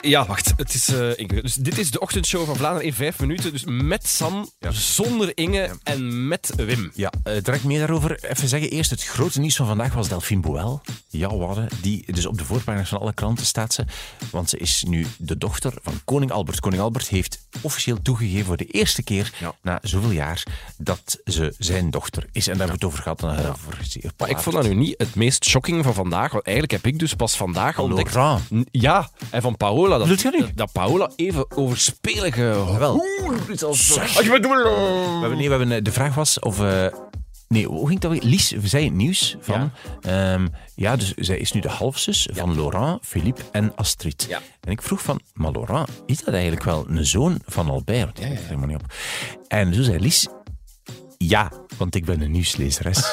Ja, wacht. Het is, eh, Inge. Dus dit is de ochtendshow van Vlaanderen in vijf minuten. Dus met Sam, Ja. zonder Inge en met Wim. Ja, eh, direct meer daarover. Even zeggen, eerst het grote nieuws van vandaag was Delphine Boel. Ja, Wadden, die dus op de voorpagina's van alle kranten staat ze. Want ze is nu de dochter van koning Albert. Koning Albert heeft officieel toegegeven voor de eerste keer Ja. na zoveel jaar dat ze zijn dochter is. En daar hebben we het over gehad. eh, En daar hebben we over gezien. Maar ik vond dat nu niet het meest shocking van vandaag. Want eigenlijk heb ik dus pas vandaag ontdekt... Laurent. N- Ja, en van Paola. Dat, Bedoelt je niet? dat Paola even overspelige... Wel, Als je wat doet... we hebben, nee, we hebben, eh, de vraag was of... eh, Nee, hoe ging dat weer? Lies zei het nieuws van... Ja, ja dus zij is nu de halfzus van Laurent, Philippe en Astrid. Ja. En ik vroeg van, maar Laurent, is dat eigenlijk wel een zoon van Albert? Want die lijkt er helemaal niet op. En zo zei Lies, ja, want ik ben een nieuwslezeres.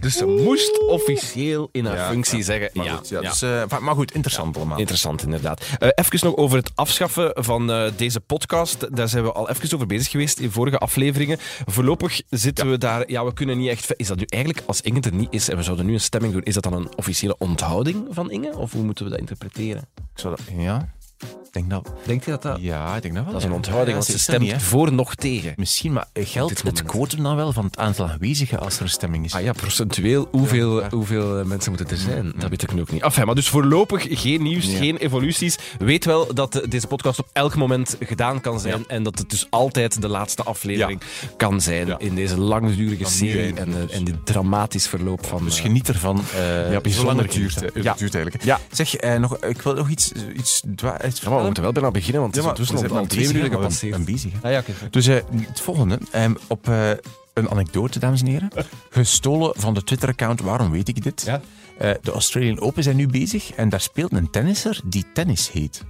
Dus ze moest officieel in haar Ja, functie zeggen... Maar, ja, goed, ja, ja. dus, eh, enfin, maar goed, interessant allemaal. Interessant, inderdaad. Eh, even nog over het afschaffen van eh, deze podcast. Daar zijn we al even over bezig geweest in vorige afleveringen. Voorlopig zitten we daar... Ja, we kunnen niet echt... ver- Is dat nu eigenlijk, als Inge er niet is en we zouden nu een stemming doen, is dat dan een officiële onthouding van Inge? Of hoe moeten we dat interpreteren? Ik zou dat- ja, ik denk dat... Denkt je dat dat... Ja, ik denk dat wel. Dat is een Ja, onthouding, ja, want ze is er stemt niet, hè. voor nog tegen. Misschien, maar eh, Op geldt dit het moment. quotum dan wel van het aantal aanwezigen als er een stemming is? Ah ja, procentueel, hoeveel, ja. hoeveel eh, mensen moeten er zijn? Dat weet ik nu ook niet. Enfin, maar dus voorlopig geen nieuws, Ja. geen evoluties. Weet wel dat eh, deze podcast op elk moment gedaan kan zijn. Ja. En dat het dus altijd de laatste aflevering kan zijn Ja. in deze langdurige Van nu serie. eindigen En, eh, dus. en dit dramatisch verloop van... Dus eh, geniet ervan. eh Ja, bijzonder zolang het geniet, duurt. hè. Het Ja. duurt eigenlijk. Ja. Zeg, eh, nog, ik wil nog iets, iets, dwa- eh, iets ja, maar we vertellen. moeten wel bijna beginnen, want het is we zijn ondertussen al, maar twee bezig, minuten hè, maar we- gepasseerd. we zijn bezig, hè. Ah ja, oké, sorry. Dus eh, het volgende. eh, op eh, een anekdote, dames en heren. Gestolen van de Twitter-account Waarom weet ik dit? Ja. Eh, de Australian Open zijn nu bezig en daar speelt een tennisser die tennis heet.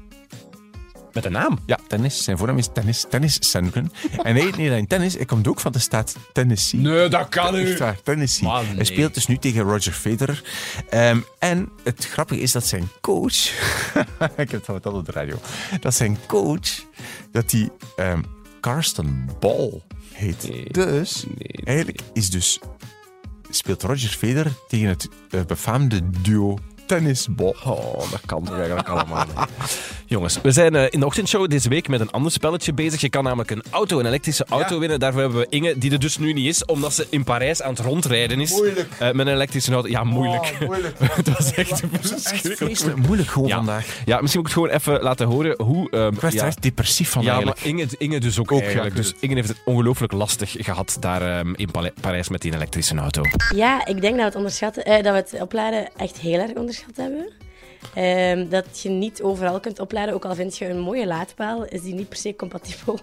Met een naam. Ja, tennis. Zijn voornaam is Tennis, tennis Sandgren. en hij heet niet alleen tennis, hij komt ook van de staat Tennessee. Nee, dat kan Echt waar, Tennessee. Maar nee. Hij speelt dus nu tegen Roger Federer. Ehm, en het grappige is dat zijn coach... ik heb het al verteld op de radio. Dat zijn coach, dat die ehm, Karsten Ball heet. Dus, eigenlijk is dus... Speelt Roger Federer tegen het eh, befaamde duo Tennisbal. Oh, dat kan toch eigenlijk allemaal niet. Jongens, we zijn eh, in de ochtendshow deze week met een ander spelletje bezig. Je kan namelijk een auto, een elektrische auto winnen. Daarvoor hebben we Inge, die er dus nu niet is, omdat ze in Parijs aan het rondrijden is. Moeilijk. Oh, Eh, met een elektrische auto. Ja, moeilijk. moeilijk. Het was echt Echt verschrikkelijk. vreselijk moeilijk gewoon Ja. vandaag. Ja, misschien moet ik het gewoon even laten horen hoe... ehm, Ik werd er ja. echt depressief van Ja, maar eigenlijk. Inge, Inge dus ook, Ook, ja, eigenlijk. ik weet Dus Inge heeft het ongelooflijk lastig gehad daar ehm, in Pale- Parijs met die elektrische auto. Ja, ik denk dat we het, onderschatten, eh, dat we het opladen echt heel erg onderschat hebben. Ehm, dat je niet overal kunt opladen, ook al vind je een mooie laadpaal, is die niet per se compatibel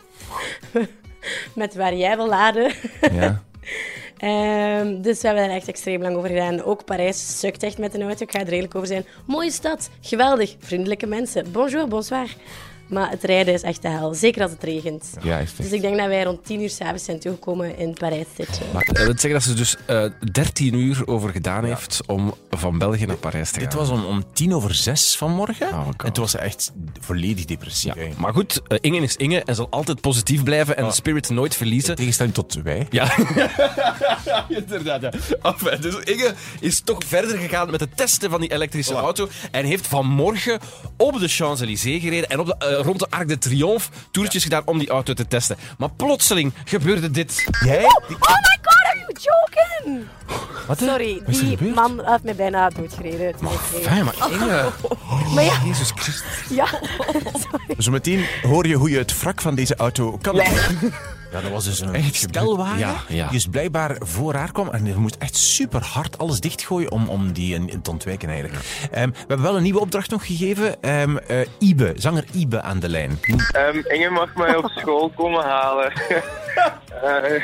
met waar jij wil laden. Ja. Ehm, dus we hebben daar echt extreem lang over gedaan. Ook Parijs sukt echt met een auto, ik ga er redelijk over zijn. Mooie stad, geweldig, vriendelijke mensen. Bonjour, bonsoir. Maar het rijden is echt de hel, zeker als het regent. Ja, echt. Dus ik denk dat wij rond 10 uur s'avonds zijn toegekomen in Parijs. Dit jaar. Maar dat wil zeggen dat ze dus eh 13 uur over gedaan heeft om van België naar Parijs te gaan. Dit was om, om tien over zes vanmorgen. Oh, God. en toen was ze echt volledig depressief. Ja, eigenlijk. maar goed, eh, Inge is Inge en zal altijd positief blijven en de spirit nooit verliezen. In tegenstelling tot wij. Ja, inderdaad. Ja. Enfin, dus Inge is toch verder gegaan met het testen van die elektrische auto en heeft vanmorgen op de Champs-Élysées gereden en op de, eh, rond de Arc de Triomphe toertjes gedaan om die auto te testen. Maar plotseling gebeurde dit. Jij? Oh my god, are you joking? Wat, hè? Sorry, is er die gebeurd? man heeft mij bijna doodgereden. toen ik reed. Fijn, maar Inge... Maar ja, Jezus Christus. ja. Zometeen hoor je hoe je het wrak van deze auto kan. Ja, dat was dus een echt stelwagen Ja, ja. die dus blijkbaar voor haar kwam. En je moest echt super hard alles dichtgooien om, om die in- in te ontwijken eigenlijk. Ehm, we hebben wel een nieuwe opdracht nog gegeven. Ehm, eh, Ibe, zanger Ibe aan de lijn. Ehm, Inge mag mij op school komen halen. Eh,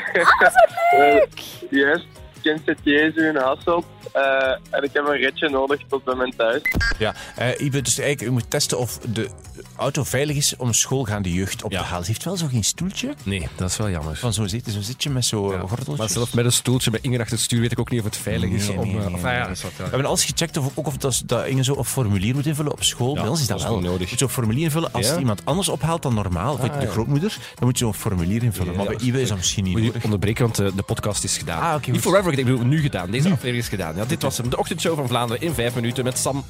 eh, yes, kind zit Jezus in Hasselt. Eh, en ik heb een ritje nodig tot bij mijn thuis. Ja, eh, Ibe, dus eigenlijk, u moet testen of de auto veilig is om schoolgaande jeugd op Ja. te halen. Ze heeft wel zo geen stoeltje. Nee, dat is wel jammer. Van zo'n zitje, zo'n zitje met zo'n ja, gordeltjes. Maar zelf met een stoeltje bij Inge achter het stuur weet ik ook niet of het veilig is Nee, om... nee, eh, nee, enfin, ja, dat is wat, ja. nou We hebben alles gecheckt of, ook of dat, dat Inge zo een formulier moet invullen op school. Ja, Bij ons is dat, dat is wel niet nodig. Je moet zo'n formulier invullen. Als Ja? Ah, er iemand anders ophaalt dan normaal, of de grootmoeder, dan moet je zo'n formulier invullen. Ja, maar dat bij is Iwe is dat misschien niet Moet je nodig. onderbreken, want eh, de podcast is gedaan. Ah, oké, Niet goed. forever, ik bedoel nu gedaan. Deze aflevering is gedaan. Ja, dit was hem, de ochtendshow van Vlaanderen in vijf minuten met Sam